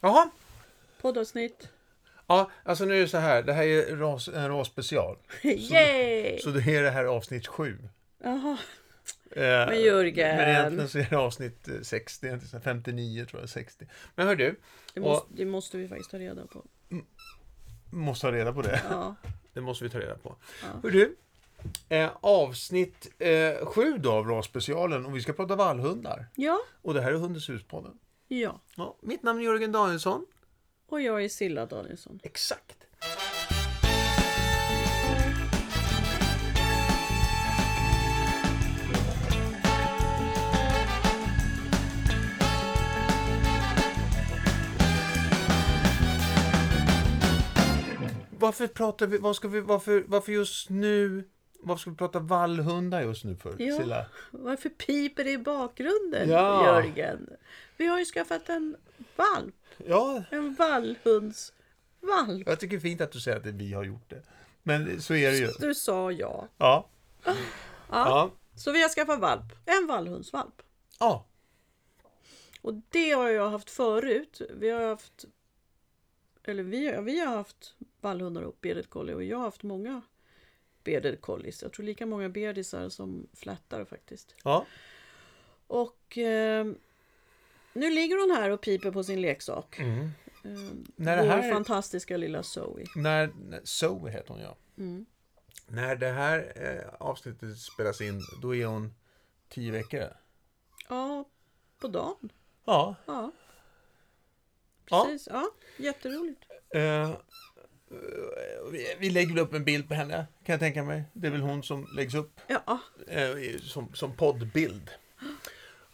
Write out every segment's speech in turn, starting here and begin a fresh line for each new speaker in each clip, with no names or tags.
Jaha.
Poddavsnitt.
Ja, alltså nu är det så här. Det här är ras, en rasspecial.
Yay!
Så det är det här avsnitt sju.
Jaha.
Eh,
Men Jörgen.
Men egentligen så är det avsnitt eh, 60, egentligen 59 tror jag, 60. Men hör du,
Det måste, det måste vi faktiskt ta reda på.
måste ha reda på det.
Ja.
Det måste vi ta reda på.
Ja.
Hör du, eh, avsnitt eh, sju då av RAS-specialen och vi ska prata vallhundar.
Ja.
Och det här är Hundens hus-podden.
Ja.
Ja, mitt namn är Jörgen Danielsson.
Och jag är Silla Danielsson.
Exakt. Varför pratar vi, vad ska vi, varför, varför just nu, varför ska vi prata vallhundar just nu för?
Ja.
Silla?
Varför piper det i bakgrunden
Ja.
Jörgen? Vi har ju skaffat en valp.
ja,
En vallhundsvalp.
jag tycker det är fint att du säger att det- vi har gjort det. Men så är det ju.
Du sa ja.
Ja.
Ja. Så vi har skaffat valp. En vallhundsvalp.
Ja.
Och det har jag haft förut. Vi har haft eller vi, vi har haft vallhundar och bearded collie och jag har haft många bearded collies. Jag tror lika många beardisar som flättar faktiskt.
Ja.
Och eh, nu ligger hon här och piper på sin leksak.
Mm.
Eh,
När det
vår
här-
fantastiska lilla Zoe.
När, när- Zoe heter hon ja.
Mm.
När det här eh, avsnittet spelas in, då är hon tio veckor.
Ja, på dagen.
Ja.
Ja,
ja.
precis. Ja, jätteroligt.
Eh, eh, vi- vi lägger väl upp en bild på henne, kan jag tänka mig. Det är väl hon som läggs upp
Ja,
eh, i- som, som poddbild.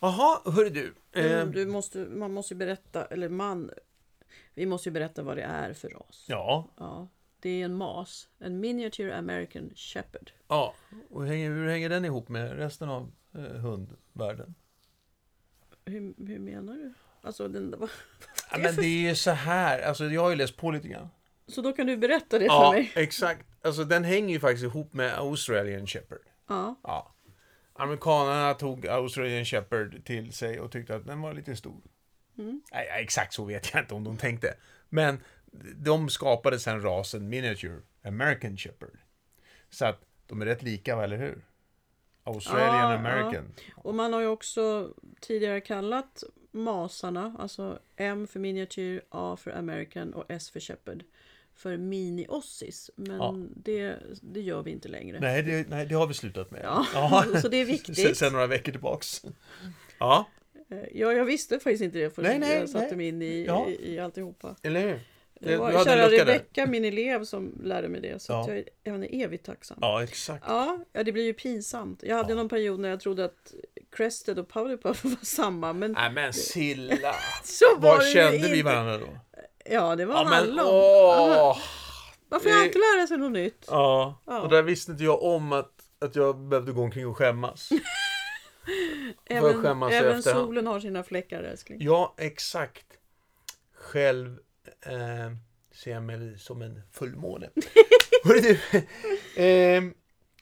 Jaha, hörru du. Eh,
du måste, man måste ju berätta, eller man, vi måste ju berätta vad det är för ras.
Ja,
Ja, det är en mas, en miniature American Shepherd.
ja. Och hur hänger, hur hänger den ihop med resten av eh, hundvärlden?
Hur, hur menar du? Alltså, den, vad-
Ja,
är
men
för-
det är ju så här, alltså jag har ju läst på lite grann.
så då kan du berätta det för
Ja,
mig.
exakt. Alltså den hänger ju faktiskt ihop med Australian Shepherd.
Ja,
Ja. Amerikanerna tog Australian Shepherd till sig och tyckte att den var lite stor.
Mm.
Nej, exakt så vet jag inte om de tänkte. Men de skapade sen rasen Miniature American Shepherd. Så att de är rätt lika, va, eller hur? Australian
Ja,
American.
och man har ju också tidigare kallat masarna, alltså M för miniature, A för American och S för Shepherd, för mini-ossis. Men
Ja.
det, det gör vi inte längre.
Nej, det, nej, det har vi slutat med.
Ja, så det är viktigt.
Sen, sen några veckor tillbaks. Ja,
Eh, Ja, jag visste faktiskt inte det förrän
Nej, nej,
jag satte
nej.
mig in i,
Ja.
i, i alltihopa.
eller hur?
Det
Du
var
hade en
kära
lucka där.
Rebecka, min elev, som lärde mig det. Så
Ja.
att jag, är- jag är evigt tacksam.
Ja, exakt.
Ja, ja, det blir ju pinsamt. Jag hade någon period när jag trodde att Crested och Powderpuff var samma, men
Nej men Silla!
så var
Var
det ju
Ah, kände
inte.
vi varandra då?
Ja, det var
Ja men
hallon.
åh!
Varför alltid lära sig något nytt?
Ja,
Ja.
och där visste inte jag om att, att jag behövde gå omkring och skämmas. jag
Även,
skämmas i
även
efterhand.
solen har sina fläckar, älskling.
Ja, exakt. Själv eh, ser jag mig som en fullmåne. Hörru du, eh,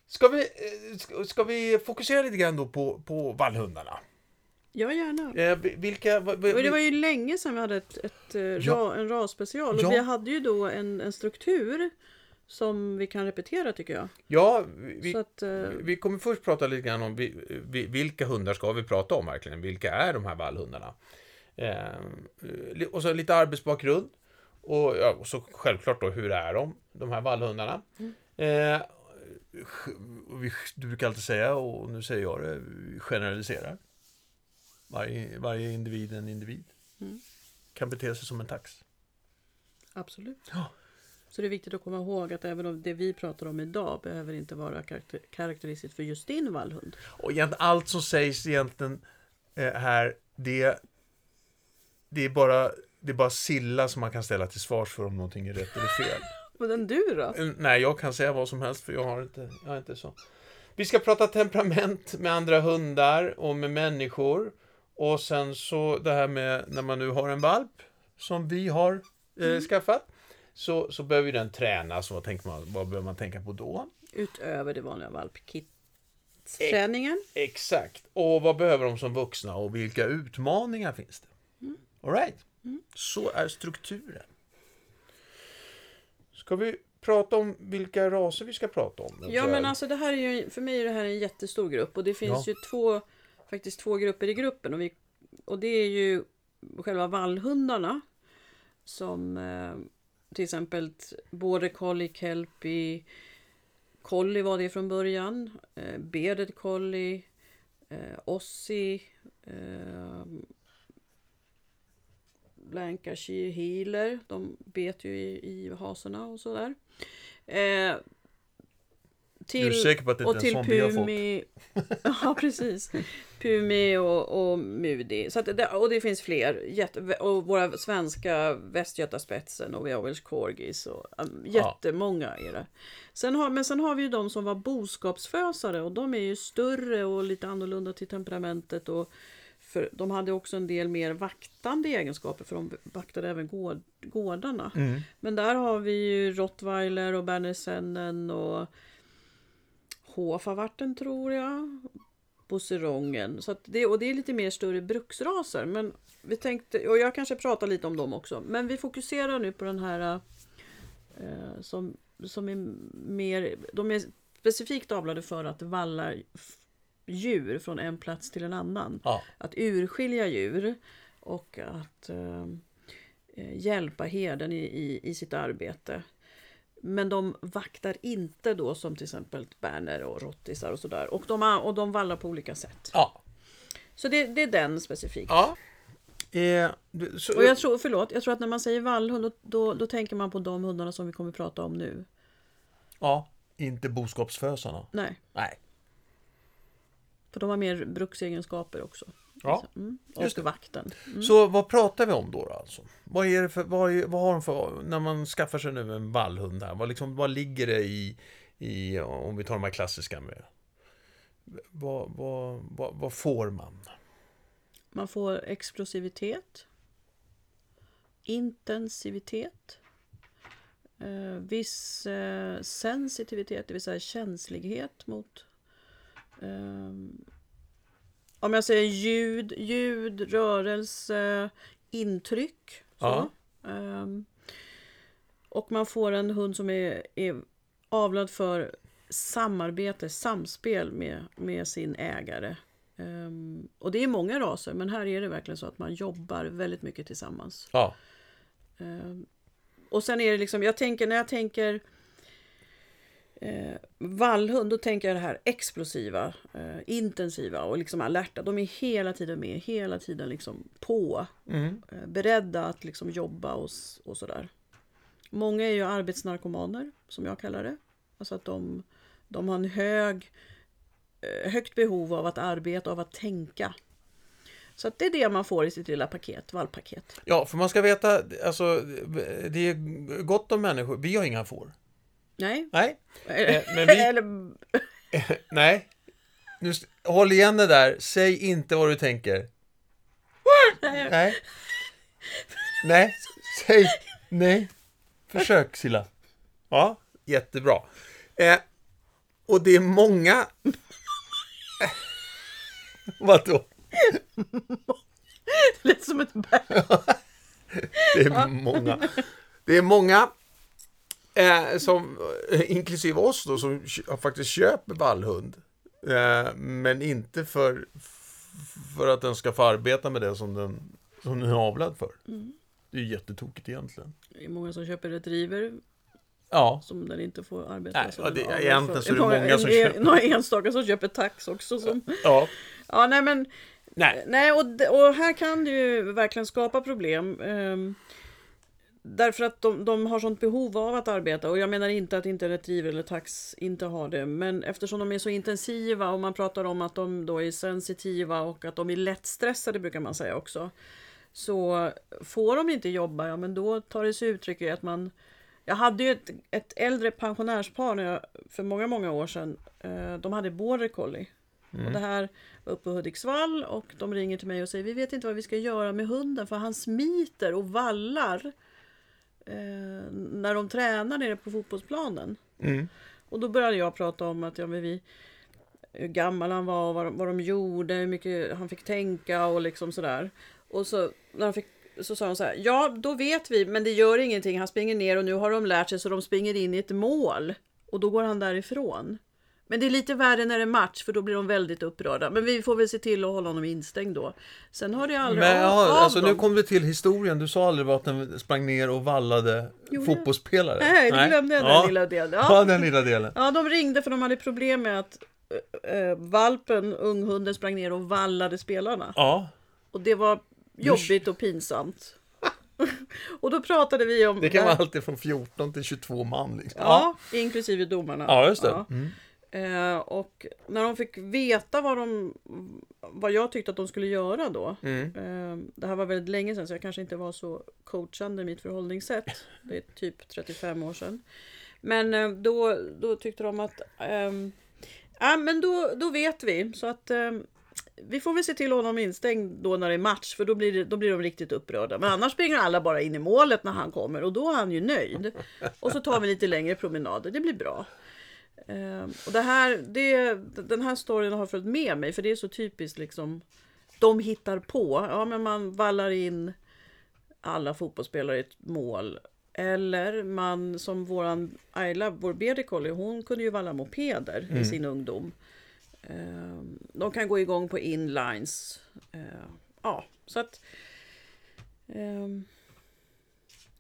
ska, vi, eh, ska, ska vi fokusera lite grann då på, på vallhundarna?
Ja, gärna.
Eh, vi- vilka... va- va-
Och det var ju länge sedan vi hade ett, ett, eh,
Ja.
ra, en RAS-special. Och
Ja.
vi hade ju då en, en struktur som vi kan repetera, tycker jag.
Ja, vi,
Så att, eh,
Vi kommer först prata lite grann om vi, vi, vilka hundar ska vi prata om verkligen? Vilka är de här vallhundarna? Ehm, li- och så lite arbetsbakgrund. Och, ja, och så självklart då, hur är de, de här vallhundarna? Ehm, sj- och vi, du brukar alltid säga, och nu säger jag det, vi generaliserar. Varje, varje individ är en individ.
Mm.
Kan bete sig som en tax.
Absolut.
Ja.
Så det är viktigt att komma ihåg att även om det vi pratar om idag behöver inte vara karakter- karaktäristiskt för just din vallhund.
Och egentligen allt som sägs egentligen eh, här, det, det, är bara, det är bara Silla som man kan ställa till svars för om någonting är rätt eller fel.
Men den du då?
Eh, Nej, jag kan säga vad som helst för jag har inte, jag är inte så. Vi ska prata temperament med andra hundar och med människor. Och sen så det här med när man nu har en valp som vi har eh, skaffat. Så, så behöver ju den tränas. Vad, tänker man, vad behöver man tänka på då?
Utöver det vanliga
Eh.
valpkit-träningen. Mm.
Exakt. Och vad behöver de som vuxna och vilka utmaningar finns det? All right. Så är strukturen. Ska vi prata om vilka raser vi ska prata om?
Ja men alltså det här är ju, för mig är det här en jättestor grupp och det finns
Ja.
ju två, faktiskt två grupper i gruppen och, vi, och det är ju själva vallhundarna som eh, till exempel t- border collie, kelpie, collie var det från början, eh, bearded collie, eh, ossie, eh, Lancashire healer, de bet ju i, i hasorna och sådär. Eh,
Du är
till,
säker på att det
och
inte är en
till
sån vi har fått?
Pumi, ja precis, Pumi och, och Mudi. Så att det, och det finns fler, jätte, och våra svenska Västgötaspetsen och Weowulfs corgis. Och, um, jättemånga är det. Sen har, men sen har vi ju de som var boskapsfösare och de är ju större och lite annorlunda till temperamentet. Och för, de hade också en del mer vaktande egenskaper för de vaktade även gård, gårdarna.
Mm.
Men där har vi ju rottweiler och bernesennen och hofavarten tror jag. Bosserongen. Så att det, och det är lite mer större bruksraser. Men vi tänkte, och jag kanske pratar lite om dem också. Men vi fokuserar nu på den här eh, som, som är mer, de är specifikt avlade för att valla f- djur från en plats till en annan
Ja.
att urskilja djur och att eh, eh, hjälpa herden i, i, i sitt arbete. Men de vaktar inte då som till exempel berner och rottisar och sådär. Och de, har- och de vallar på olika sätt.
Ja.
Så det, det är den specifikt.
ja. Eh, du- så,
Och jag tror, förlåt, jag tror att när man säger vallhund då, då, då tänker man på de hundarna som vi kommer prata om nu.
Ja, inte boskapsfösarna.
Nej,
Nej.
för de har mer bruksegenskaper också.
Ja.
Mm.
Just
Och vakten.
Så vad pratar vi om då? då alltså? Vad, är det för, vad, är, vad har de för, när man skaffar sig nu en vallhund här, vad, liksom, vad ligger det i, i, om vi tar de här klassiska med? Vad, vad, vad, vad får man?
Man får explosivitet, intensivitet, eh, viss eh, sensitivitet, det vill säga känslighet mot... Eh, om jag säger ljud, ljud, rörelse, intryck. Så. Eh, och man får en hund som är, är avlad för samarbete, samspel med, med sin ägare. Ehm, och det är många raser, men här är det verkligen så att man jobbar väldigt mycket tillsammans.
Ja,
Ehm, och sen är det liksom, jag tänker, när jag tänker eh, vallhund, då tänker jag det här explosiva, eh, intensiva och liksom alerta. De är hela tiden med, hela tiden liksom på,
mm.
eh, beredda att liksom jobba och, s- och sådär. Många är ju arbetsnarkomaner, som jag kallar det. Alltså att de, de har en hög, eh, högt behov av att arbeta, av att tänka. Så att det är det man får i sitt lilla paket, valppaket.
ja för man ska veta, alltså, det är gott om människor. Vi har inga får.
Nej?
Nej, Eh, men vi-
Eller,
nej. Nu, s- håll igen det där, säg inte vad du tänker. Nej. Nej, säg nej. Försök Silla. Ja, jättebra. Eh, och det är många... Vadå?
det lät som ett berg.
Det är många. Det är många, eh, som, eh, inklusive oss då, som kö- faktiskt köper vallhund. Eh, men inte för, för att den ska få arbeta med det som den, som den är avlad för.
Mm.
Det är ju jättetokigt egentligen.
Det är många som köper retriever
Ja,
som den inte får arbeta
Nej,
som
ja,
den
det-
avlar
egentligen
för.
så är det många som
en-
köper-
Några enstaka som köper tax också. Som,
ja.
ja, nej men
Nej.
Nej, och, d- och här kan det ju verkligen skapa problem. ehm, därför att de, de har sånt behov av att arbeta. Och jag menar inte att inte retriever eller tax inte har det. Men eftersom de är så intensiva och man pratar om att de då är sensitiva och att de är lättstressade brukar man säga också. Så får de inte jobba, ja men då tar det sig uttryck i att man jag hade ju ett, ett äldre pensionärspar när jag, för många, många år sedan. Eh, de hade border collie. Och det här var uppe i Hudiksvall och de ringer till mig och säger vi vet inte vad vi ska göra med hunden för han smiter och vallar eh, när de tränar nere på fotbollsplanen.
Mm.
Och då började jag prata om att ja, men vi, hur gammal han var, vad de, vad de gjorde, hur mycket han fick tänka och liksom sådär. Och så när han fick så sa hon så här, ja då vet vi, men det gör ingenting. Han springer ner och nu har de lärt sig så de springer in i ett mål. Och då går han därifrån. Men det är lite värre när det är match för då blir de väldigt upprörda. Men vi får väl se till att hålla honom instängd då. Sen har det aldrig
Men
av,
ja,
av
alltså, nu
dem.
kom vi till historien. Du sa aldrig att den sprang ner och vallade
Gjorde jag?
fotbollsspelare.
Nej, nu glömde jag den
ja.
lilla delen.
Ja.
Ja.
den lilla delen.
ja, de ringde för de hade problem med att eh, eh, valpen, unghunden, sprang ner och vallade spelarna.
Ja,
Och det var jobbigt och pinsamt. och då pratade vi om...
det kan
här-
vara alltid från 14 till 22 man. Liksom.
Ja, inklusive domarna.
Ja, just det.
Mm.
Eh, och när de fick veta vad, de, vad jag tyckte att de skulle göra då. Eh, det här var väldigt länge sedan så jag kanske inte var så coachande i mitt förhållningssätt. Det är typ 35 år sedan. Men eh, då, då tyckte de att ehm, Ja men då, då vet vi så att ehm, vi får väl se till att honom instängd då när det är match för då blir, det, då blir de riktigt upprörda. Men annars springer alla bara in i målet när han kommer och då är han ju nöjd. Och så tar vi lite längre promenader, det blir bra. Ehm, och det här, det, den här storyn har följt med mig för det är så typiskt liksom de hittar på. Ja men man vallar in alla fotbollsspelare i ett mål. Eller man som våran Ayla, vår BD Collie, hon kunde ju valla mopeder i sin ungdom. Ehm, De kan gå igång på inlines. Ehm, Ja, så att... ehm,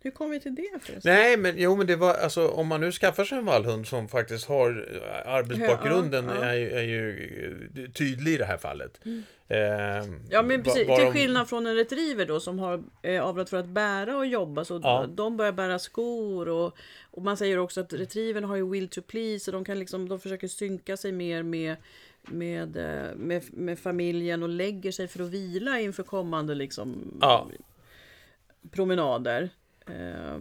Hur kom vi till det förresten?
Nej, men jo, men det var alltså om man nu skaffar sig en vallhund som faktiskt har eh, arbetsbakgrunden
Ja, ja.
Är, ju, är ju eh, tydlig i det här fallet. Eh,
Ja men precis,
va- var
till
de-
skillnad från en retriever då som har eh, avlat för att bära och jobba så
Ja.
de börjar bära skor och, och man säger också att retrievern har ju will to please och de kan liksom, de försöker synka sig mer med med, eh, med, med familjen och lägger sig för att vila inför kommande liksom,
Ja.
promenader. Eh,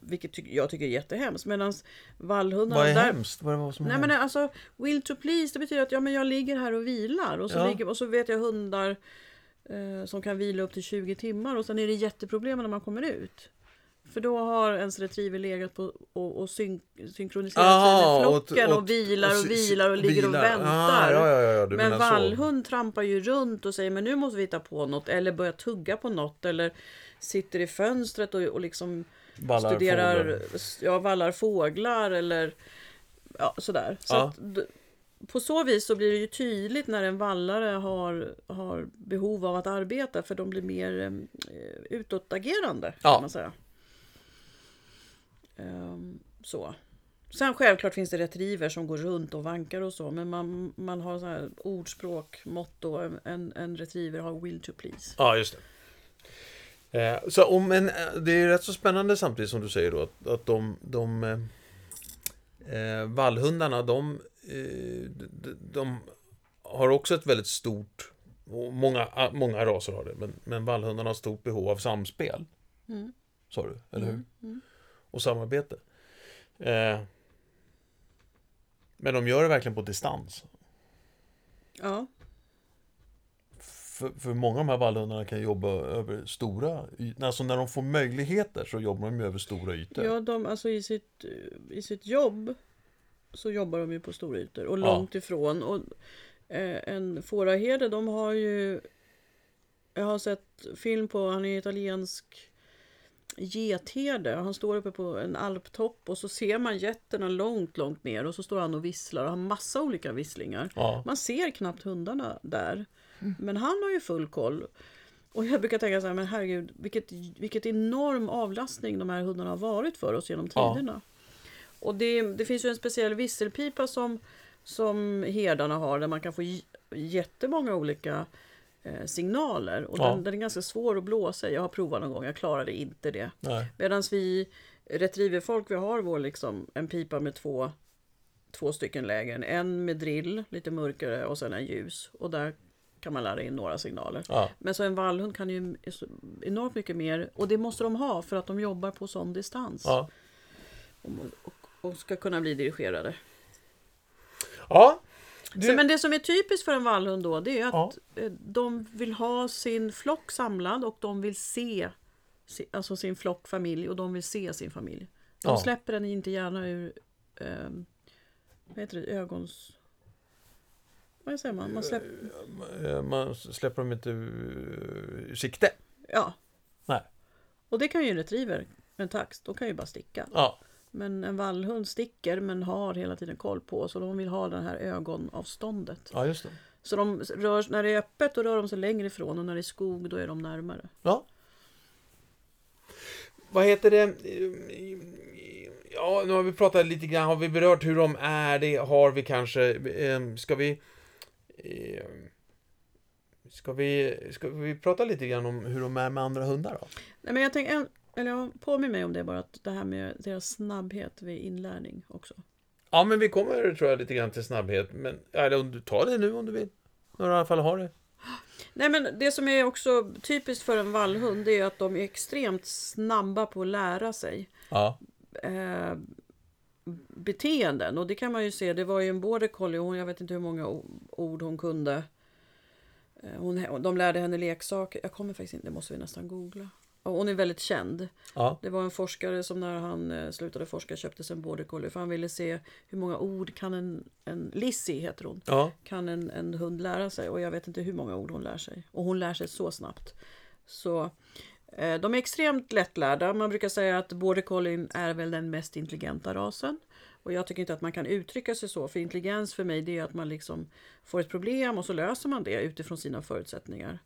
vilket ty- jag tycker är jättehemskt. Medan vallhundarna...
Vad är
där-
hemskt? Vad är det som
Nej
är
men alltså, will to please, det betyder att ja, men jag ligger här och vilar och så,
Ja.
ligger, och så vet jag hundar eh, som kan vila upp till 20 timmar och sen är det jätteproblem när man kommer ut. För då har ens retriever legat på och, och syn, synkroniserat sig med flocken och, vilar och vilar och ligger och
Ah,
väntar.
ja, ja, ja, ja, du
Men
menar så.
vallhund trampar ju runt och säger men nu måste vi hitta på något eller börjar tugga på något eller sitter i fönstret och, och liksom
Vallar,
studerar,
fåglar.
ja, vallar fåglar eller ja, sådär. Så
Ja.
att, d- på så vis så blir det ju tydligt när en vallare har, har behov av att arbeta för de blir mer eh, utåtagerande kan
Ja.
man säga. Ehm, så. Sen självklart finns det retriever som går runt och vankar och så men man, man har så här ordspråk, motto, en, en retriever har will to please.
Ja, just det. Eh, så om en,
Eh, Det är ju rätt så spännande samtidigt som du säger då att, att de, de eh, eh,
vallhundarna, de, eh, d- d- de har också ett väldigt stort, och många, många raser har det, men, men vallhundarna har stort behov av samspel. Sa du, eller hur? Och samarbete. Eh, men de gör det verkligen på distans.
Ja,
för, för många av de här vallhundarna kan jobba över stora ytor. Alltså när de får möjligheter så jobbar de ju över stora ytor.
ja de, alltså i sitt, eh, i sitt jobb så jobbar de ju på stora ytor och
Ja.
långt ifrån. Och, eh, en fåraherde, de har ju... Jag har sett film på, han är italiensk getherde. Han står uppe på en alptopp och så ser man getterna långt, långt ner och så står han och visslar och har massa olika visslingar.
Ja. Mm.
Man ser knappt hundarna där. Men han har ju full koll. Och jag brukar tänka så här, men herregud, vilket, vilket enorm avlastning de här hundarna har varit för oss genom
Ja.
tiderna. Och det, det finns ju en speciell visselpipa som, som herdarna har där man kan få j- jättemånga olika eh, signaler. Och
Ja.
den, den är ganska svår att blåsa i. Jag har provat någon gång, jag klarade inte det.
Nej.
Medan vi retrieverfolk, vi har vår liksom en pipa med två, två stycken lägen. En med drill, lite mörkare och sen en ljus. Och där kan man lära in några signaler.
Ja.
Men så en vallhund kan ju enormt mycket mer och det måste de ha för att de jobbar på sån distans.
Ja.
Och, och, och ska kunna bli dirigerade.
ja.
Så, men det som är typiskt för en vallhund då det är att
Ja.
eh, de vill ha sin flock samlad och de vill se se- alltså sin flock, familj och de vill se sin familj. De
Ja.
släpper den inte gärna ur ehm, vad heter det, ögons... Vad säger man? man släpper,
Eh, Man släpper dem inte ur ur sikte.
ja,
Nej.
Och det kan ju en retriever, en tax, de kan ju bara sticka.
Ja,
Men en vallhund sticker men har hela tiden koll på så de vill ha det här ögonavståndet.
ja just det.
Så de rör, när det är öppet då rör de sig längre ifrån och när det är skog då är de närmare.
Ja,
Vad heter det? Ja, nu har vi pratat lite grann. Har vi berört hur de är? Det har vi kanske. Ehm, Ska vi... ehm, Ska vi, ska vi prata lite grann om hur de är med andra hundar då?
Nej, men jag tänker, en- eller jag påminner mig om det bara, att det här med deras snabbhet vid inlärning också.
Ja, men vi kommer tror jag lite grann till snabbhet. Men, eller om du tar det nu om du vill. När du i alla fall har det.
Nej men det som är också typiskt för en vallhund det är ju att de är extremt snabba på att lära sig
ja,
eh, beteenden. Och det kan man ju se, det var ju en border collie, hon, jag vet inte hur många o- ord hon kunde. Eh, Hon, de lärde henne leksaker, jag kommer faktiskt inte, det måste vi nästan googla. Och hon är väldigt känd.
ja,
Det var en forskare som när han eh, slutade forska köpte sig en border collie för han ville se hur många ord kan en, en Lizzie heter hon,
ja.
kan en, en hund lära sig och jag vet inte hur många ord hon lär sig. Och hon lär sig så snabbt. Så eh, de är extremt lättlärda. Man brukar säga att border collien är väl den mest intelligenta rasen. Och jag tycker inte att man kan uttrycka sig så, för intelligens för mig det är att man liksom får ett problem och så löser man det utifrån sina förutsättningar.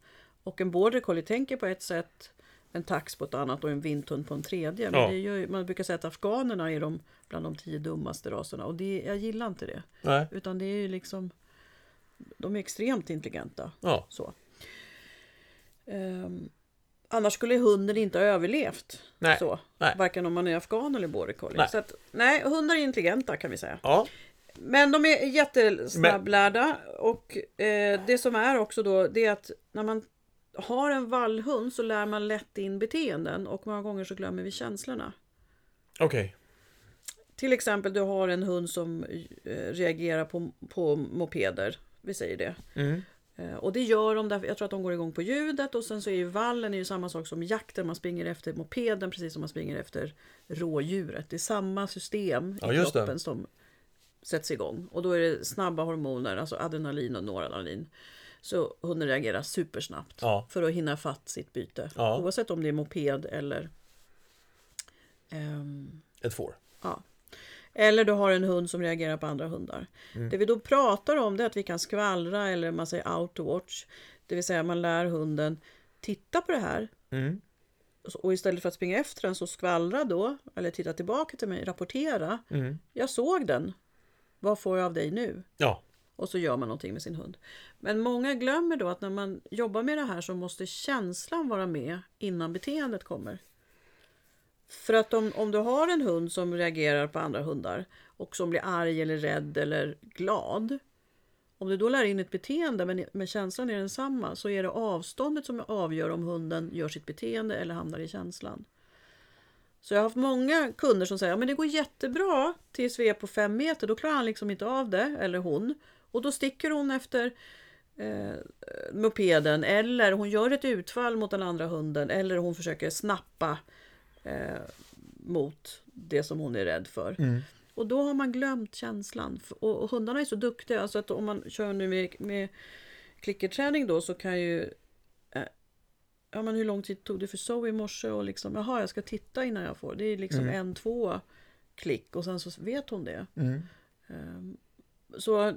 Och en border collie tänker på ett sätt, en tax på ett annat och en vindhund på en tredje. Men
Ja.
det gör ju, man brukar säga att afghanerna är de bland de tio dummaste raserna och det, jag gillar inte det.
Nej.
Utan det är ju liksom De är extremt intelligenta.
Ja.
Så. Ehm, annars skulle hunden inte ha överlevt.
Nej,
Så.
nej.
Varken om man är afghan eller border collie.
Nej.
Nej. Så att, nej, hundar är intelligenta kan vi säga.
Ja,
Men de är jättesnabblärda. Och eh, det som är också då, det är att när man har en vallhund så lär man lätt in beteenden och många gånger så glömmer vi känslorna.
Okej.
Till exempel du har en hund som eh, reagerar på, på mopeder. Vi säger det.
Mm.
Eh, Och det gör de därför, jag tror att de går igång på ljudet och sen så är ju vallen är ju samma sak som jakten, man springer efter mopeden precis som man springer efter rådjuret. Det är samma system
Ja,
i
just det.
kroppen som sätts igång. Och då är det snabba hormoner, alltså adrenalin och noradrenalin. Så hunden reagerar supersnabbt
Ja.
för att hinna fatt sitt byte.
Ja.
Oavsett om det är moped eller ehm,
ett får.
Ja. Eller du har en hund som reagerar på andra hundar. Det vi då pratar om det är att vi kan skvallra eller man säger out to watch. Det vill säga man lär hunden titta på det här.
Mm.
Och istället för att springa efter den så skvallra då. Eller titta tillbaka till mig, rapportera. Jag såg den. Vad får jag av dig nu?
Ja,
Och så gör man någonting med sin hund. Men många glömmer då att när man jobbar med det här så måste känslan vara med innan beteendet kommer. För att om, om du har en hund som reagerar på andra hundar och som blir arg eller rädd eller glad. Om du då lär in ett beteende men, men känslan är densamma så är det avståndet som avgör om hunden gör sitt beteende eller hamnar i känslan. Så jag har haft många kunder som säger att men det går jättebra tills vi är på fem meter. Då klarar han liksom inte av det, eller hon. Och då sticker hon efter eh, mopeden eller hon gör ett utfall mot den andra hunden eller hon försöker snappa eh, mot det som hon är rädd för.
Mm.
Och då har man glömt känslan. F- Och, och hundarna är så duktiga så att om man kör nu med, med klickerträning då så kan ju eh, ja men hur lång tid tog det för Zoe i morse och liksom, jaha jag ska titta innan jag får. Det är liksom
Mm.
en, två klick och sen så vet hon det.
Mm.
Ehm, Så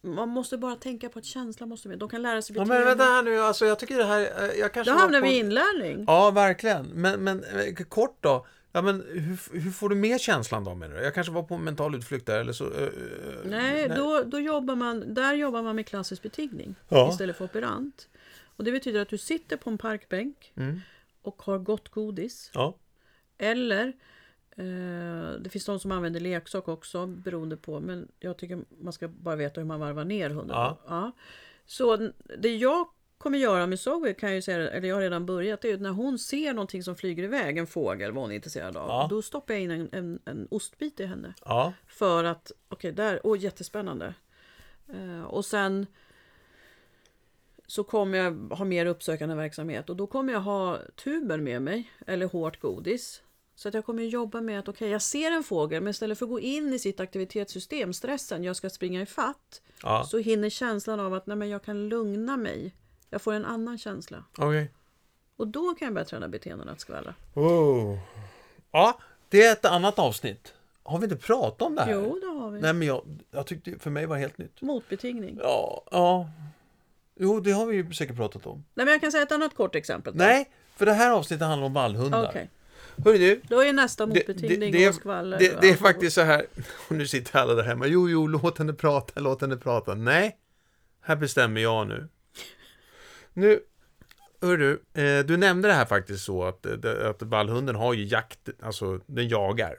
man måste bara tänka på att känslan måste med. De kan lära sig
ja
beteende.
men vänta här nu, alltså jag tycker det här, eh, jag
Då
kanske var
hamnar
på-
vi i inlärning.
Ja, verkligen. Men, men eh, kort då. Ja, men hur, hur får du med känslan då menar du? Jag kanske var på en mental utflykt där eller så. eh, eh,
Nej, Då, då jobbar man, där jobbar man med klassisk betingning
Ja.
istället för operant. Och det betyder att du sitter på en parkbänk
Mm.
och har gott godis.
Ja,
Eller eh, det finns de som använder leksak också beroende på men jag tycker man ska bara veta hur man varvar ner hunden.
Ja.
Så n- det jag kommer göra med Zoe kan jag ju säga, eller jag har redan börjat, det är ju när hon ser någonting som flyger iväg, en fågel vad hon är intresserad av,
Ja.
då stoppar jag in en, en, en ostbit i henne.
ja,
För att, okej, där, åh jättespännande. Eh, och sen så kommer jag ha mer uppsökande verksamhet och då kommer jag ha tuber med mig eller hårt godis. Så att jag kommer jobba med att okej, jag ser en fågel men istället för att gå in i sitt aktivitetssystem, stressen, jag ska springa i fatt
ja.
så hinner känslan av att nej men jag kan lugna mig. Jag får en annan känsla.
Okej.
Och då kan jag börja träna beteenden att skvallra.
Oh. Ja, det är ett annat avsnitt. Har vi inte pratat om det här?
Jo, det har vi.
Nej, men jag, jag tyckte för mig var det helt nytt.
Motbetingning.
Ja, ja. Jo, det har vi ju säkert pratat om.
Nej, men jag kan säga ett annat kort exempel. då.
Nej, för det här avsnittet handlar om vallhundar.
Okej,
Hörru du,
då är nästa
det, det,
motbetingning
det,
och skvaller.
är, det, det är
och-
faktiskt så här, och nu sitter alla där hemma, jo, jo, låt henne prata, låt henne prata. Nej, här bestämmer jag nu. Nu, hör du, eh, du nämnde det här faktiskt så att, eh, det- att vallhunden har ju jakt, alltså den jagar.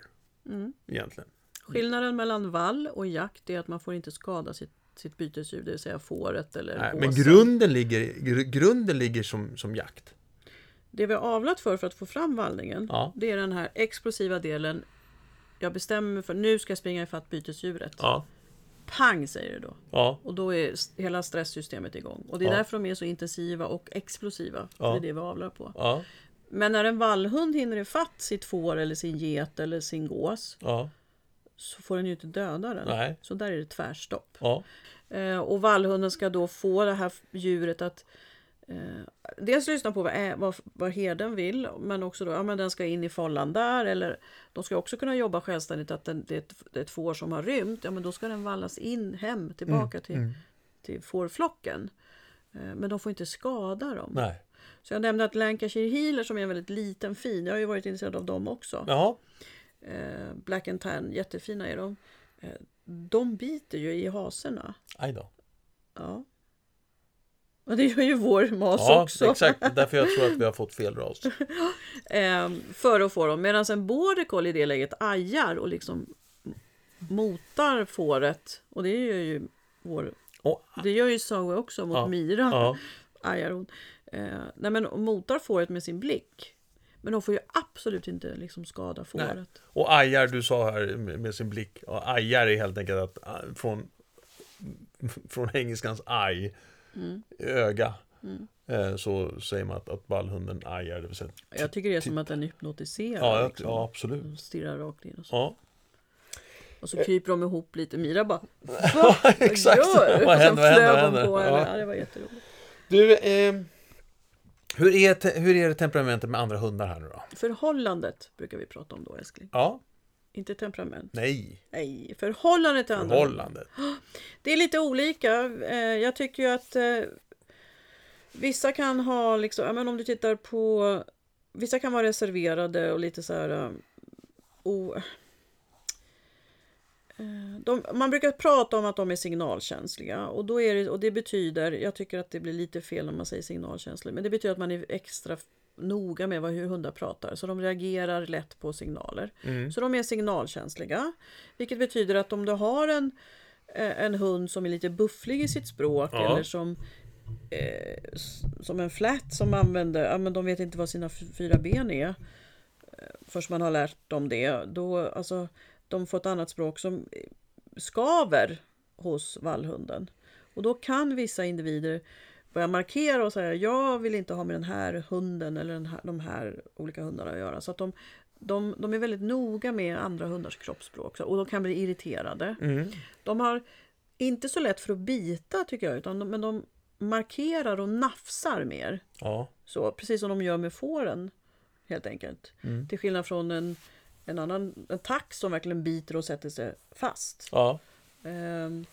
Egentligen.
Skillnaden mellan vall och jakt är att man får inte skada sitt, sitt bytesdjur, det vill säga fåret eller
Nej,
åsen.
men grunden ligger, gr, grunden ligger som, som jakt.
Det vi har avlat för, för att få fram vallningen,
Ja.
det är den här explosiva delen. Jag bestämmer mig för nu ska jag springa ifatt bytesdjuret.
Ja,
Pang säger det då.
ja.
Och då är s- hela stresssystemet igång. Och det är
Ja.
därför de är så intensiva och explosiva. För
Ja.
Det är det vi avlar på.
Ja,
Men när en vallhund hinner ifatt sitt får eller sin get eller sin gås
ja,
så får den ju inte döda den.
Nej.
Så där är det tvärstopp.
ja,
Eh, och vallhunden ska då få det här f- djuret att eh, dels lyssna på vad, ä- vad, vad herden vill, men också då, ja men den ska in i follan där, eller de ska också kunna jobba självständigt, att den, det, är ett, det är ett får som har rymt, ja men då ska den vallas in hem, tillbaka till, till fårflocken. Eh, men de får inte skada dem.
nej.
Så jag nämnde att Lancashire Heeler som är en väldigt liten fin, jag har ju varit intresserad av dem också.
Ja,
Eh, Black and Tan, jättefina är de. Eh, de biter ju i haserna.
aj då.
Ja. Och det gör ju vår mas
Ja,
också.
exakt. Därför jag tror att vi har fått fel ras.
Ehm, före och få dem. Medan en border collie i det läget ajar och liksom motar fåret. Och det gör ju vår...
Och,
Det gör ju Zoe också mot
Ja,
Mira.
ja.
Ajar hon. Eh, nej men och motar fåret med sin blick. Men de får ju absolut inte liksom skada fåret.
Nej. Och ajar, du sa här med med sin blick, och ajar är helt enkelt att ah, från, från engelskans aj,
Mm.
öga, eh, så säger man att, att ballhunden ajar, det vill säga,
Jag tycker det är som att den är hypnotiserad.
ja, jag,
liksom.
ja absolut.
De stirrar rakt in och så.
Ja,
Och så kryper de ihop lite. Mira bara
exakt.
gör du?
Vad
Och
händer,
sen
vad händer,
flög
vad
hon på
händer?
henne.
Ja.
Ja, det var jätteroligt.
Du, eh, hur, är te, hur är det temperamentet med andra hundar här nu då?
Förhållandet brukar vi prata om då, älskling.
Ja,
Inte temperament.
nej,
Nej, förhållandet till andra.
förhållandet.
Det är lite olika. Eh, Jag tycker ju att eh, vissa kan ha liksom, ja, men om du tittar på, vissa kan vara reserverade och lite så här eh, o- Eh, de, man brukar prata om att de är signalkänsliga och, då är det, och det betyder, jag tycker att det blir lite fel om man säger signalkänslig, men det betyder att man är extra noga med vad, hur hundar pratar, så de reagerar lätt på signaler.
Mm.
Så de är signalkänsliga, vilket betyder att om du har en, eh, en hund som är lite bufflig i sitt språk
Ja.
eller som eh, s- som en flat som använder, ja men de vet inte vad sina f- fyra ben är eh, först man har lärt dem det, då alltså de får ett annat språk som skaver hos vallhunden. Och då kan vissa individer börja markera och säga jag vill inte ha med den här hunden eller den här, de här olika hundarna att göra. Så att de, de, de är väldigt noga med andra hundars kroppsspråk så- och de kan bli irriterade. De har inte så lätt för att bita tycker jag, utan de, men de markerar och nafsar mer.
Ja,
Så, precis som de gör med fåren helt enkelt. Till skillnad från en, en annan en tax som verkligen biter och sätter sig fast.
ja,
Ehm,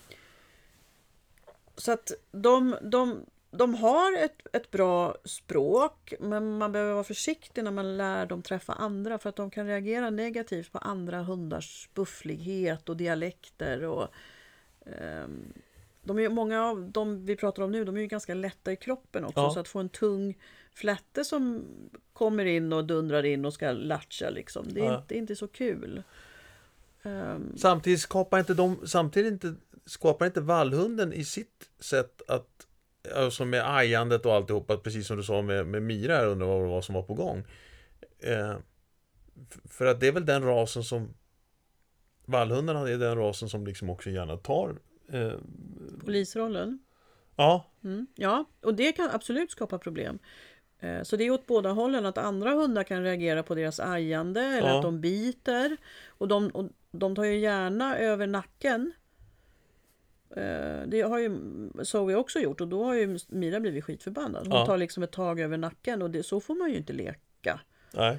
så att de, de, de har ett, ett bra språk men man behöver vara försiktig när man lär dem träffa andra för att de kan reagera negativt på andra hundars bufflighet och dialekter. Och, ehm, de är, ju- många av de vi pratar om nu de är ju ganska lätta i kroppen också
Ja.
så att få en tung flätte som kommer in och dundrar in och ska latcha liksom. Det är,
Ja.
inte, det är inte så kul. Ehm,
Samtidigt skapar inte de, samtidigt inte, skapar inte vallhunden i sitt sätt att, alltså med ajandet och alltihopa, precis som du sa med, med Mira här, undrar vad det var som var på gång. Eh, f- för att det är väl den rasen som, vallhundarna är den rasen som liksom också gärna tar, eh,
polisrollen.
ja,
Mm, ja, och det kan absolut skapa problem. Eh, Så det är åt båda hållen, att andra hundar kan reagera på deras ajande eller
Ja.
att de biter. Och de, och de tar ju gärna över nacken Eh, Det har ju Zoe också gjort och då har ju Mira blivit skitförbannad. Hon
Ja.
tar liksom ett tag över nacken och det, så får man ju inte leka.
Nej.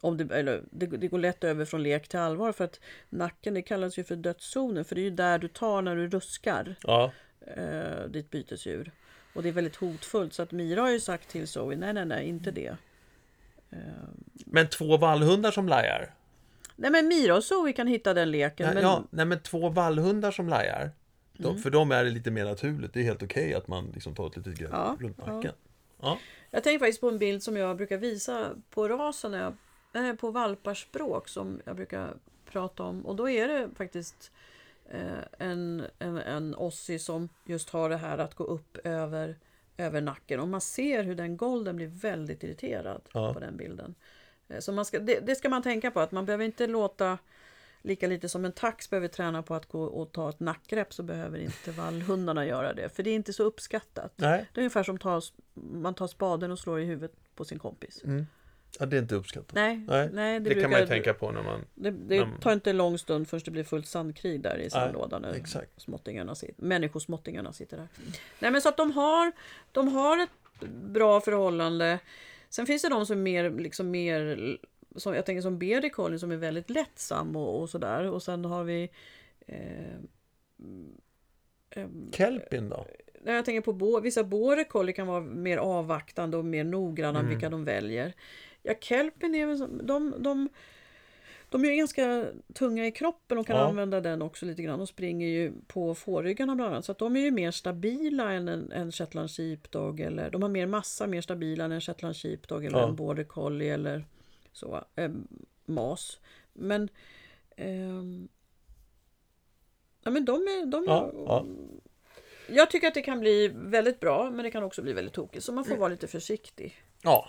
Om det, eller, det, det går lätt över från lek till allvar för att nacken det kallas ju för dödszonen för det är ju där du tar när du ruskar
Ja.
eh, ditt bytesdjur. Och det är väldigt hotfullt så att Mira har ju sagt till Zoe nej nej nej inte det.
Men två vallhundar som lajar?
Nej men Mira och Zoe kan hitta den leken.
Ja,
men, Mm.
ja, nej men två vallhundar som lajar. Då, För dem är det lite mer naturligt. Det är helt okej att man liksom tar ett litet grepp
Ja,
runt
ja.
nacken.
Jag tänker faktiskt på en bild som jag brukar visa på rasen, när jag, eh, på valparspråk som jag brukar prata om. Och då är det faktiskt eh, en, en, en ossi som just har det här att gå upp över, över nacken. Och man ser hur den golden blir väldigt irriterad
Ja.
på den bilden. Eh, Så man ska, det, det ska man tänka på, att man behöver inte låta Lika lite som en tax behöver träna på att gå och ta ett nackgrepp så behöver inte vallhundarna göra det. För det är inte så uppskattat.
Nej,
Det är ungefär som tas, man tar spaden och slår i huvudet på sin kompis.
ja, det är inte uppskattat.
Nej, nej,
Nej,
det,
Mm. Det,
brukar,
kan man ju tänka på när man...
Det, det tar inte en lång stund förrän det blir fullt sandkrig där i sandlådan. när
exakt.
Småttingarna sit, människosmåttingarna sitter där. Nej, men så att de har, de har ett bra förhållande. Sen finns det de som är mer, liksom mer som, jag tänker som Berdy Collins som är väldigt lättsam och, och sådär. Och sen har vi eh,
Kelpin då?
när jag tänker på bo, vissa borekolli kan vara mer avvaktande och mer noggranna mm. vilka de väljer. Ja, kelpen är väl som- de, de, de är ju ganska tunga i kroppen och kan
Ja.
använda den också lite grann. De springer ju på fårryggarna bland annat. Så att de är ju mer stabila än en, en shetland sheepdog. Eller, de har mer massa, mer stabila än en shetland sheepdog eller
Ja.
en border collie eller så. Eh, mas. Men, ehm, ja, men de är, de är
Ja, ja.
jag tycker att det kan bli väldigt bra, men det kan också bli väldigt tokigt. Så man
Mm.
får vara lite försiktig.
ja.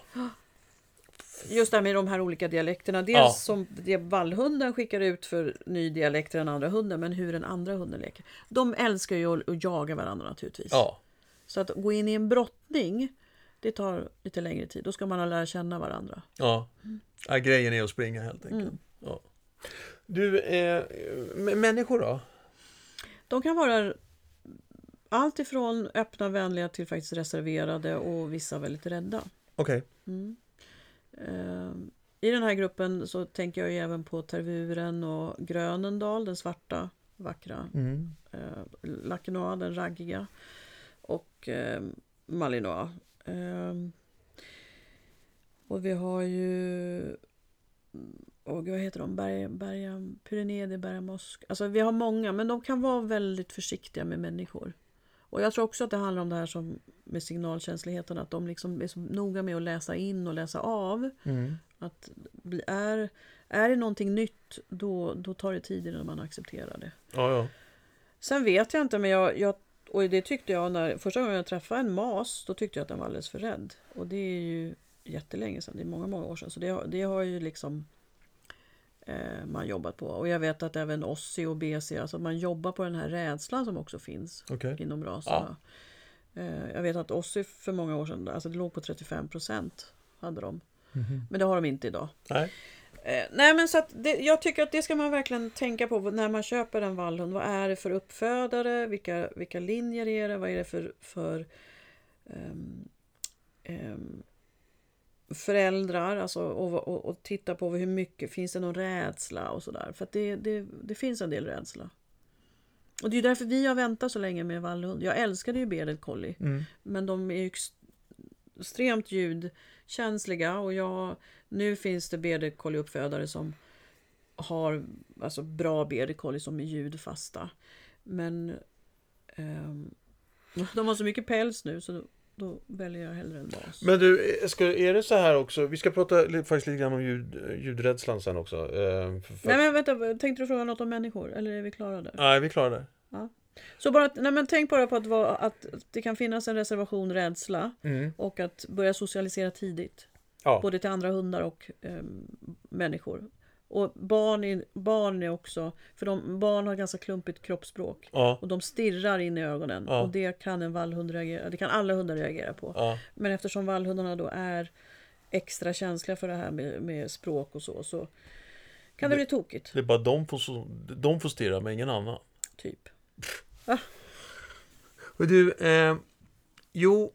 Just det här med de här olika dialekterna. Dels
Ja.
som det vallhunden skickar ut för ny dialekt till den andra hunden, men hur den andra hunden leker. De älskar ju att- att jaga varandra naturligtvis.
ja.
Så att gå in i en brottning, det tar lite längre tid. Då ska man ha lära känna varandra.
Ja. ja, grejen är att springa helt
Mm.
enkelt. Ja. Du, eh, m- människor då?
De kan vara allt ifrån öppna, vänliga till faktiskt reserverade och vissa väldigt rädda.
Okej.
Eh, I den här gruppen så tänker jag ju även på Tervuren och Grönendal, den svarta vackra.
Mm.
Eh, Lakenoa, den raggiga. Och eh, Malinoa. Eh, och vi har ju... Och vad heter de? Berga, Berga, Pyrenede, Berga Mosk. Alltså vi har många, men de kan vara väldigt försiktiga med människor. Och jag tror också att det handlar om det här som med signalkänsligheten, att de liksom är så noga med att läsa in och läsa av.
Mm.
Att bli- är, är det någonting nytt, då, då tar det tid innan man accepterar det.
Ja, ja.
Sen vet jag inte, men jag, jag och det tyckte jag när första gången jag träffade en mas, då tyckte jag att den var alldeles för rädd. Och det är ju jättelänge sedan, det är många, många år sedan. Så det, har- det har ju liksom eh, man jobbat på. Och jag vet att även Ossi och BC, alltså att man jobbar på den här rädslan som också finns
Okej.
inom raserna. Eh, jag vet att Ossi för många år sedan, alltså det låg på 35 procent hade de.
Mm-hmm.
Men det har de inte idag.
Nej.
Eh, nej men så att det, jag tycker att det ska man verkligen tänka på när man köper en vallhund. Vad är det för uppfödare? Vilka, vilka linjer är det? Vad är det för, för ehm, ehm, föräldrar? Alltså, och, och, och titta på hur mycket, finns det någon rädsla och sådär? För att det, det, det finns en del rädsla. Och det är ju därför vi har väntat så länge med vallhund. Jag älskade ju bearded collie.
Mm.
Men de är ju ex- extremt ljudkänsliga och jag, nu finns det BD-collie-uppfödare som har alltså bra BD-collie som är ljudfasta. Men ehm, de har så mycket päls nu så då, då väljer jag hellre en bas.
Men du, eh,
Ska, är det så här också, vi ska prata li- faktiskt lite grann om ljud, ljudrädslan sen också. Eh, för, för,
Nej men vänta, tänkte du fråga något om människor eller är vi klara där?
nej, vi klarar det.
Så bara, att- nej men tänk bara på att, vara, att det kan finnas en reservation, rädsla
Mm.
och att börja socialisera tidigt.
ja.
Både till andra hundar och eh, människor. Och barn är, barn är också, för de, barn har ganska klumpigt kroppsspråk.
Ja.
Och de stirrar in i ögonen.
Ja.
Och det kan en vallhund reagera, det kan alla hundar reagera på.
Ja.
Men eftersom vallhundarna då är extra känsliga för det här med, med språk och så, så kan det bli tokigt.
Det är bara de får, så- de får stirra, men ingen annan.
Typ.
Och du, eh, jo,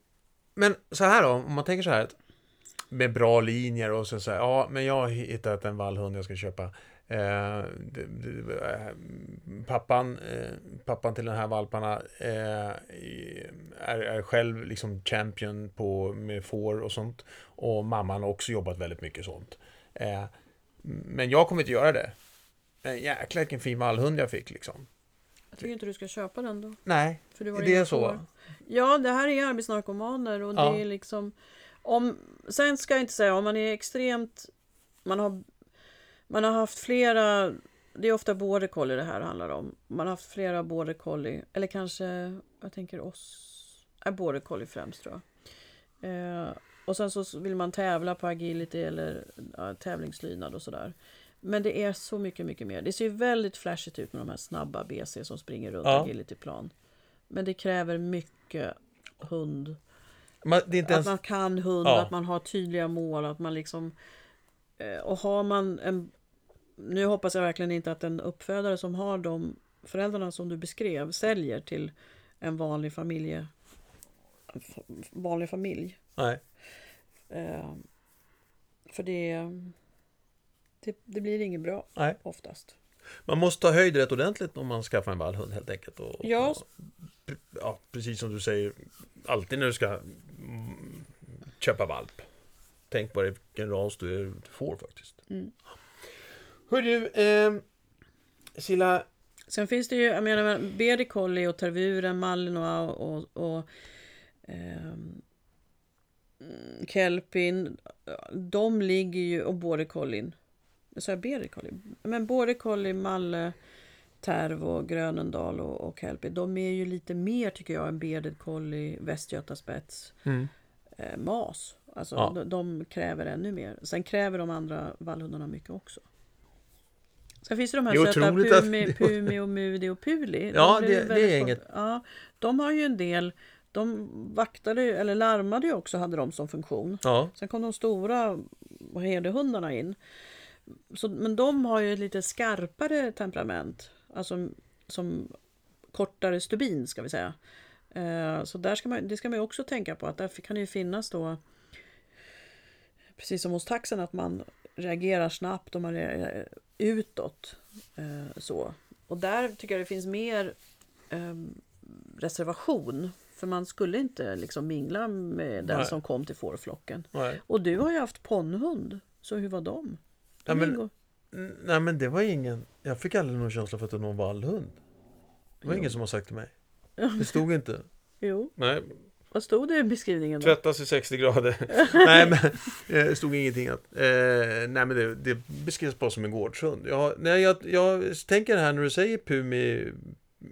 men så här då, om man tänker så här att med bra linjer och så säger ja, men jag har hittat en vallhund jag ska köpa. Eh, det- det- eh, pappan, eh, pappan till den här valparna eh, är, är själv liksom champion på, med får och sånt. Och mamman har också jobbat väldigt mycket sånt. Eh, men jag kommer inte göra det. Men jäklar vilken fin vallhund jag fick liksom.
Jag tycker inte du ska köpa den då.
Nej,
För du har
det
inga
är så.
får. Ja, det här är arbetsnarkomaner och
Ja.
det är liksom... Om, sen ska jag inte säga, om man är extremt... Man har, man har haft flera... Det är ofta border collie det här handlar om. Man har haft flera border collie, eller kanske, jag tänker oss... Är border collie främst tror jag. Eh, och sen så vill man tävla på agility eller ja, tävlingslydnad och sådär. Men det är så mycket, mycket mer. Det ser ju väldigt flashigt ut med de här snabba BC som springer runt
Ja.
agilityplan. Men det kräver mycket hund.
Man, det är inte ens...
Att man kan hund,
Ja.
att man har tydliga mål, att man liksom... eh, Och har man en... Nu hoppas jag verkligen inte att en uppfödare som har de föräldrarna som du beskrev säljer till en vanlig familje... f- Vanlig familj.
Nej.
Eh, För det, det... Det blir inget bra
Nej.
oftast.
Man måste ta höjd rätt ordentligt om man skaffar en vallhund helt enkelt. Och,
Ja,
och, ja, precis som du säger, alltid när du ska mm, köpa valp. Tänk på det, vilken ras du är- får faktiskt.
Mm.
Hör du, ehm, Silla,
Sen finns det ju, jag menar, BD Collie och Tervuren, Malinois och, och, och ehm, mm, Kelpin. De ligger ju, och Border Collin. Sa jag BD Collie? Men Border Collie, Malle, Terv och Grönendal och, och Kelpin. De är ju lite mer tycker jag än BD Collie, Västgötaspets, eh, MAS. Alltså
Ja.
de, de kräver ännu mer. Sen kräver de andra vallhundarna mycket också. Sen finns det de här
Det är
söta
otroligt att-
Pumi, Pumi och Mudi och Puli. De
Ja,
blev
det- det
väldigt
är inget-
pop- Ja, de har ju en del, de vaktade ju, eller larmade ju också, hade de som funktion.
ja,
Sen kom de stora herdehundarna in. Så, men de har ju ett lite skarpare temperament. Alltså som kortare stubin ska vi säga. Eh, så där ska man, det ska man ju också tänka på att där kan det ju finnas då Precis som hos taxen att man reagerar snabbt och man reagerar utåt. Eh, så. Och där tycker jag det finns mer ehm, reservation. För man skulle inte liksom mingla med den
Nej.
som kom till fårflocken.
nej.
Och du har ju haft ponnhund, så hur var de? de
Ja, men-
ingår-
Mm, nej men det var ingen, jag fick aldrig någon känsla för att det var någon vallhund. Det var
Jo.
ingen som har sagt till mig. Det stod inte.
Jo,
Nej,
vad stod det i beskrivningen? Då?
Tvättas i 60 grader. nej, men eh, det stod ingenting att... Eh, nej, men det, det beskrivs bara som en gårdshund. Jag, nej, jag, jag tänker här när du säger Pumi...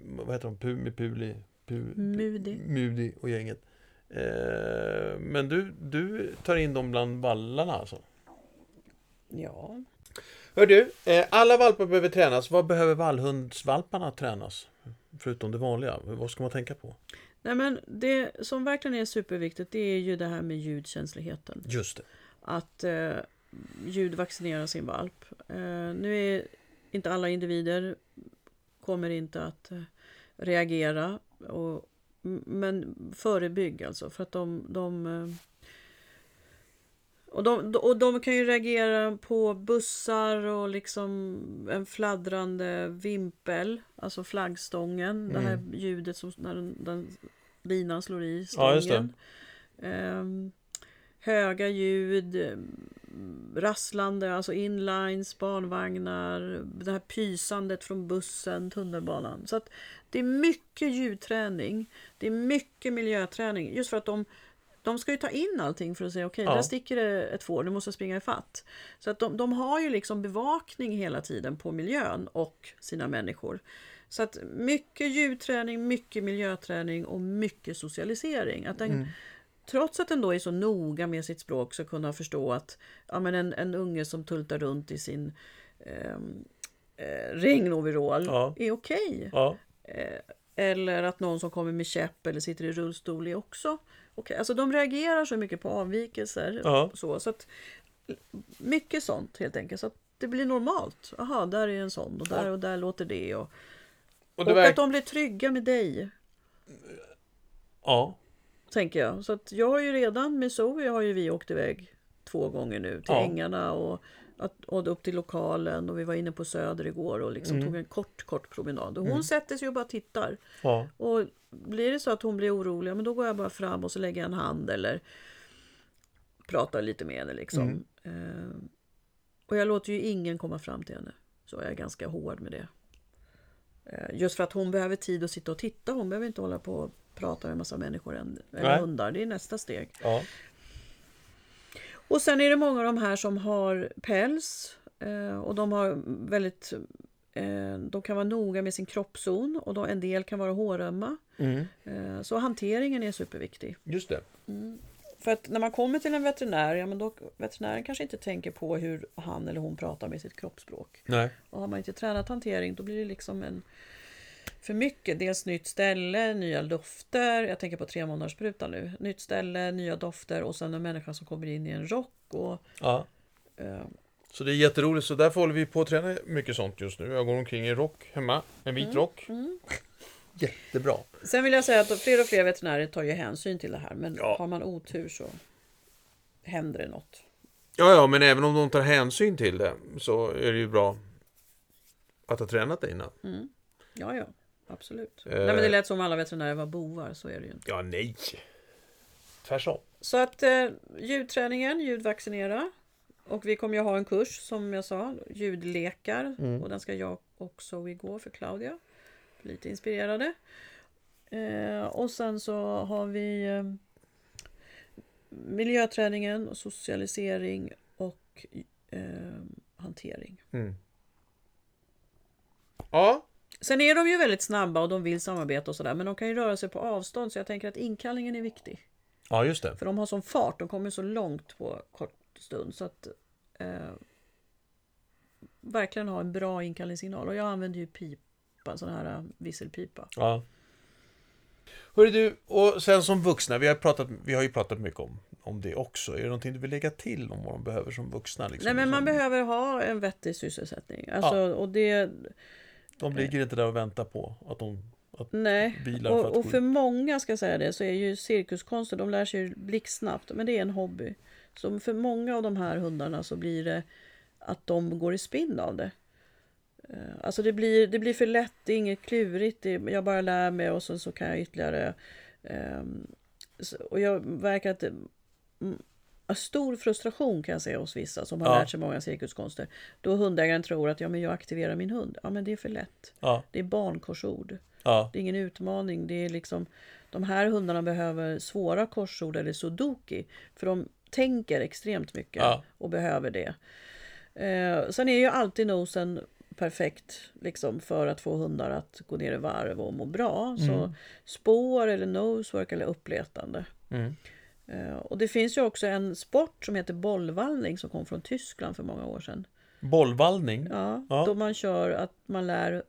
Vad heter de? Pumi, Puli... Pu,
Mudi.
Mudi och gänget. Eh, men du, du tar in dem bland vallarna alltså?
Ja.
Hör du, eh, alla valpar behöver tränas. Vad behöver vallhundsvalparna tränas? Förutom det vanliga. Vad ska man tänka på?
Nej, men det som verkligen är superviktigt det är ju det här med ljudkänsligheten.
Just det.
Att eh, ljudvaccinera sin valp. Eh, nu är inte alla individer kommer inte att eh, reagera. Och, m- men förebygg alltså för att de, de eh, och de, och de kan ju reagera på bussar och liksom en fladdrande vimpel, alltså flaggstången, det här ljudet som när den, den linan slår i
Mm. Ja, just det.
stången. Ehm, höga ljud, mm, rasslande, alltså inlines, barnvagnar, det här pysandet från bussen, tunnelbanan. Så att det är mycket ljudträning, det är mycket miljöträning, just för att de de ska ju ta in allting för att säga okej,
Ja.
där sticker det ett får, nu måste jag springa i fatt. Så att de, de har ju liksom bevakning hela tiden på miljön och sina människor. Så att mycket ljudträning, mycket miljöträning och mycket socialisering. Att den, Trots att den då är så noga med sitt språk så kunna förstå att ja, men en, en unge som tultar runt i sin ehm, eh, regnoverall
Ja.
är okej.
Ja.
Eller att någon som kommer med käpp eller sitter i rullstol är också okej. Alltså de reagerar så mycket på avvikelser.
Ja.
och Så, så att, mycket sånt helt enkelt. Så att det blir normalt. Aha, där är en sån och där och där låter det. Och,
Och
Och,
det verk-
att de blir trygga med dig,
Ja,
tänker jag. Så att jag har ju redan, med Zoe har ju vi åkt iväg två gånger nu till
Ja.
ängarna och, att, och upp till lokalen och vi var inne på Söder igår och liksom tog en kort, kort promenad. Och hon sätter sig och bara tittar.
ja.
Och blir det så att hon blir orolig, ja, men då går jag bara fram och så lägger jag en hand eller pratar lite med henne liksom. Eh, och jag låter ju ingen komma fram till henne. Så jag är ganska hård med det. Eh, just för att hon behöver tid att sitta och titta. Hon behöver inte hålla på och prata med en massa människor än, eller
Nej.
hundar. Det är nästa steg.
ja.
Och sen är det många av de här som har päls eh, och de har väldigt eh, de kan vara noga med sin kroppszon och de, en del kan vara hårömma.
Mm.
Eh, Så hanteringen är superviktig.
Just det.
För att när man kommer till en veterinär, ja men då veterinären kanske inte tänker på hur han eller hon pratar med sitt kroppsspråk.
Nej.
Och har man inte tränat hantering då blir det liksom en för mycket. Dels nytt ställe, nya dofter. Jag tänker på tre månaders sprutan nu. Nytt ställe, nya dofter och sen en människa som kommer in i en rock. Och,
Ja.
eh,
Så det är jätteroligt, så därför håller vi på att träna mycket sånt just nu. Jag går omkring i rock hemma, en
Mm.
vit rock. Jättebra.
Sen vill jag säga att fler och fler veterinärer tar ju hänsyn till det här. Men
Ja.
har man otur så händer det något.
Ja, ja, men även om de tar hänsyn till det så är det ju bra att ha tränat det innan.
Ja, ja. Absolut.
Eh.
Nej, men det lät som om alla veterinärer var bovar, så är det ju inte.
Ja, nej. Tvärtom.
Så att eh, ljudträningen, ljudvaccinera. Och vi kommer ju ha en kurs som jag sa, ljudlekar. Och den ska jag också igår för Claudia. Lite inspirerade. Eh, och sen så har vi eh, miljöträningen, och socialisering och eh, hantering.
Ja,
Sen är de ju väldigt snabba och de vill samarbeta och sådär. Men de kan ju röra sig på avstånd så jag tänker att inkallningen är viktig.
ja, just det.
För de har sån fart, de kommer så långt på kort stund. Så att eh, verkligen ha en bra inkallningssignal. Och jag använder ju pipa, sån här eh, visselpipa.
Ja.
hörru du, och sen som vuxna, vi har, pratat, vi har ju pratat mycket om, om det också. Är det någonting du vill lägga till om vad de behöver som vuxna? Liksom?
Nej men man
Som-
behöver ha en vettig sysselsättning. Alltså, och det,
De ligger inte där och väntar på att de... Att,
nej.
Bilar för att
Och,
gå
och för många ska jag säga det så är ju cirkuskonster, de lär sig ju blixtsnabbt. Men det är en hobby. Så för många av de här hundarna så blir det att de går i spinn av det. Eh, Alltså det blir, det blir för lätt, det är inget klurigt, det, jag bara lär mig och sen så kan jag ytterligare... ehm, s- och jag verkar att... mm, en Stor frustration kan jag se hos vissa som har
Ja.
lärt sig många cirkuskonster. Då hundägaren tror att ja, men jag aktiverar min hund. Ja, men det är för lätt.
ja,
Det är barnkorsord.
ja,
Det är ingen utmaning. Det är liksom, de här hundarna behöver svåra korsord eller sudoku. För de tänker extremt mycket
Ja.
och behöver det. Eh, sen är ju alltid nosen perfekt liksom, för att få hundar att gå ner i varv och må bra.
Mm.
Så spår eller nosework eller uppletande.
Mm.
Eh, och det finns ju också en sport som heter bollvallning som kom från Tyskland för många år sedan.
Bollvallning?
Ja,
Ja.
Då man kör att man lär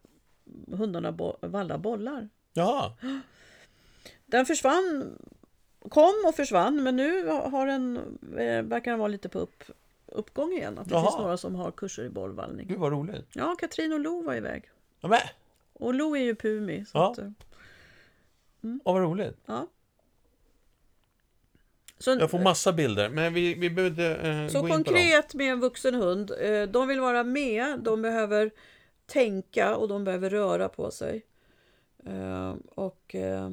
hundarna bo- valla bollar.
Jaha.
Den försvann, kom och försvann, men nu har den, eh, verkar den vara lite på upp, uppgång igen. Att det
Jaha.
finns några som har kurser i bollvallning.
Gud vad roligt.
Ja, Katrin och Lo var iväg.
Ja, men,
Och Lo är ju Pumi. Så,
Ja.
att, eh,
ja, vad roligt.
ja. så,
Jag får massa bilder.
Men vi, vi behöver inte eh,
så
gå in på dem.
konkret med en vuxen hund. eh, De vill vara med, de behöver tänka och de behöver röra på sig. Eh, Och eh,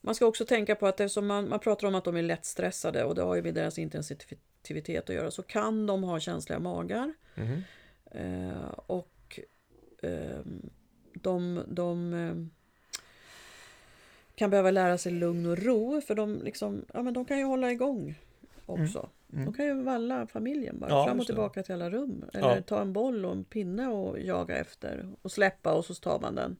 man ska också tänka på att eftersom man, man pratar om att de är lättstressade och det har ju med deras intensitet att göra så kan de ha känsliga magar. Eh, Och eh, de, de eh, kan behöva lära sig lugn och ro för de, liksom, ja, men de kan ju hålla igång också. De kan ju valla familjen bara
Mm. Ja,
fram och
just det.
tillbaka till alla rum. Eller
Ja.
ta en boll och en pinne och jaga efter och släppa och så tar man den.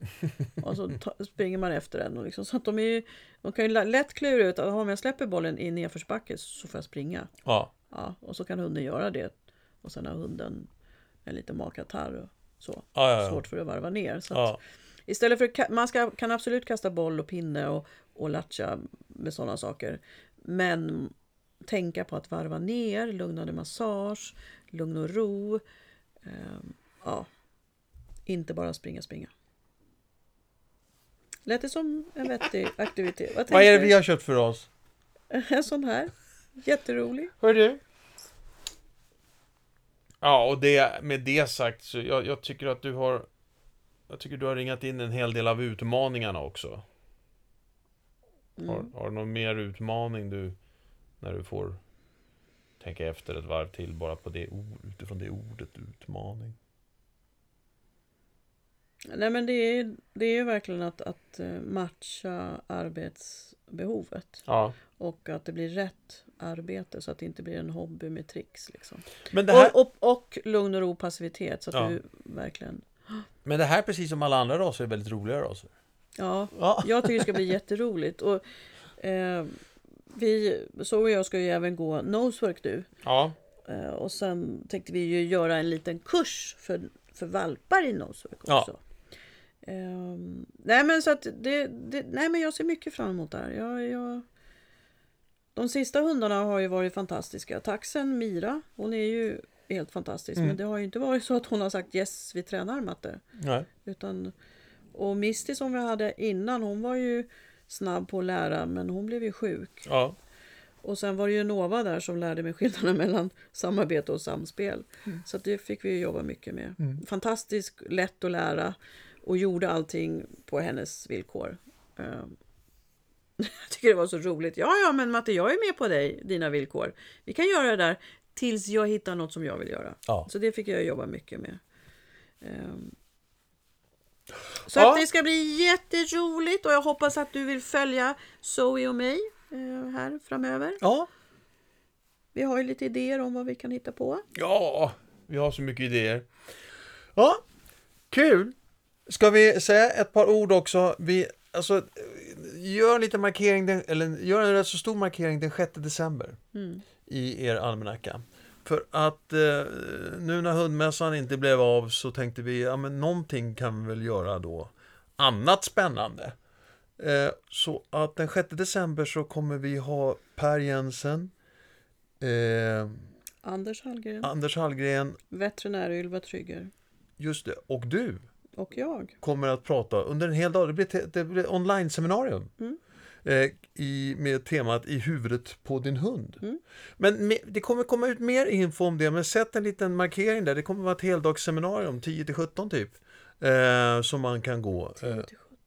Och så ta, springer man efter den. Och liksom, så att de, är ju, de kan ju la- lätt klura ut att "Jaha, om jag släpper bollen i nedförsbacke så får jag springa.
Ja,
Ja, och så kan hunden göra det. Och sen har hunden en liten magkatarr och så.
Ja, ja, ja.
Svårt för att varva ner. Så att
ja,
Istället för att ka- man ska, kan absolut kasta boll och pinne och, och latcha med sådana saker. Men tänka på att varva ner, lugnande massage, lugn och ro. Ehm, ja. Inte bara springa, springa. Lät det som en vettig aktivitet? Vad,
Vad är det
tänker
vi har köpt för oss?
du? En sån här. Jätterolig.
Hör du? Ja, och det, med det sagt så jag, jag tycker att du har Jag tycker du har ringat in en hel del av utmaningarna också.
Mm.
Har, har du någon mer utmaning du När du får Tänka efter ett varv till bara på det ord, utifrån det ordet utmaning.
Nej men det är, det är verkligen att, att eh, matcha arbetsbehovet.
Ja.
Och att det blir rätt arbete så att det inte blir en hobby med tricks. Liksom.
Men det, här,
Och, och, och lugn och ro passivitet så att
Ja.
du verkligen...
men det här precis som alla andra raser är väldigt roliga raser.
Ja,
Ja.
jag tycker det ska bli jätteroligt. Och, eh, vi, så och jag ska ju även gå nosework nu.
Ja.
Eh, och sen tänkte vi ju göra en liten kurs för, för valpar i nosework
Ja.
också. Ehm, nej men så att det, det, nej men jag ser mycket fram emot det här. Jag, jag, de sista hundarna har ju varit fantastiska. Taxen Mira, hon är ju helt fantastisk. Men det har ju inte varit så att hon har sagt yes, vi tränar matte.
Nej.
Utan, och Misty som vi hade innan, hon var ju snabb på att lära men hon blev ju sjuk.
Ja.
Och sen var det ju Nova där som lärde mig skillnaden mellan samarbete och samspel. Så att det fick vi ju jobba mycket med. Fantastiskt lätt att lära och gjorde allting på hennes villkor. Ehm, Jag tycker det var så roligt. Ja, ja, men Matte, jag är med på dig, dina villkor. Vi kan göra det där tills jag hittar något som jag vill göra.
Ja.
Så det fick jag jobba mycket med. Ehm, Så
Ja.
att det ska bli jätteroligt och jag hoppas att du vill följa Zoe och mig eh, här framöver.
Ja.
Vi har ju lite idéer om vad vi kan hitta på.
Ja, vi har så mycket idéer.
Ja, kul! Ska vi säga ett par ord också? Vi, alltså, gör en liten markering, den- eller gör en rätt så stor markering den 6 december i er almanacka. För att eh, nu när hundmässan inte blev av så tänkte vi, ja men någonting kan vi väl göra då annat spännande. Eh, så att den 6 december så kommer vi ha Per Jensen, eh,
Anders Hallgren,
Anders Hallgren,
veterinär Ylva Trygger
just det, och du.
och jag.
kommer att prata under en hel dag. Det blir, te- det blir online-seminarium. Eh, i, med temat I huvudet på din hund. Men me, det kommer komma ut mer info om det, men sätt en liten markering där. Det kommer vara ett heldagsseminarium, 10 till 17 typ. Eh, som man kan gå. Eh,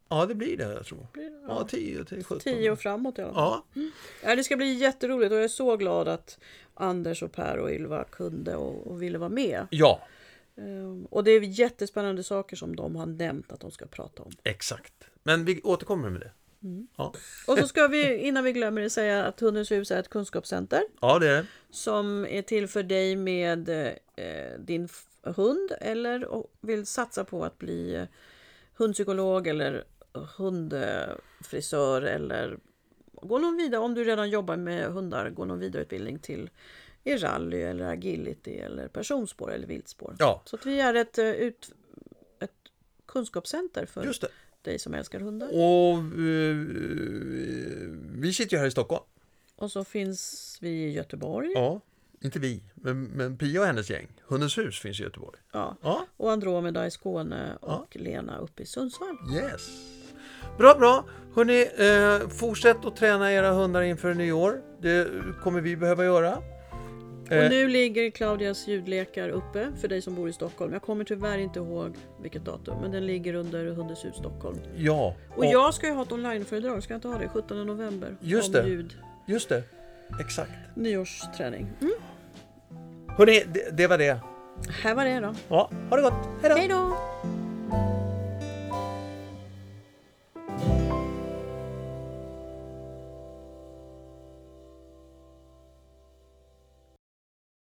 ja, det blir det jag tror. Ja, 10 till 17.
Tio och framåt i alla fall.
Ja,
Ja, det ska bli jätteroligt och jag är så glad att Anders och Per och Ylva kunde och, och ville vara med.
ja,
Ehm, Och det är jättespännande saker som de har nämnt att de ska prata om.
exakt. Men vi återkommer med det. Ja.
Och så ska vi, innan vi glömmer det, säga att Hundens hus är ett kunskapscenter
ja, det är det.
som är till för dig med eh, din f- hund eller och vill satsa på att bli eh, hundpsykolog eller hundfrisör eller gå någon vidare, om du redan jobbar med hundar, gå någon vidareutbildning till i rally eller agility eller personspår eller viltspår.
Ja.
Så att vi är ett, eh, ut, ett kunskapscenter för
Just det.
dig som älskar hundar.
Och eh, vi sitter ju här i Stockholm.
Och så finns vi i Göteborg.
Ja, inte vi, men, men Pia och hennes gäng. Hundens hus finns i Göteborg.
Ja.
Ja,
och Andromeda i Skåne och Lena uppe i Sundsvall.
yes. Bra, bra. Hörrni, eh, fortsätt att träna era hundar inför nyår. Det kommer vi behöva göra. Eh.
Och nu ligger Claudias ljudlekar uppe för dig som bor i Stockholm. Jag kommer tyvärr inte ihåg vilket datum, men den ligger under Hundens hus Stockholm.
Ja,
Och jag ska ju ha ett onlineföredrag, ska jag inte ha det? 17 november.
Just
om
det.
ljud.
just det. Exakt.
Nyårsträning. Mm.
Hörrni, det, det var det.
Här var det då.
Ja, ha det gott. Hej då.
Hej då!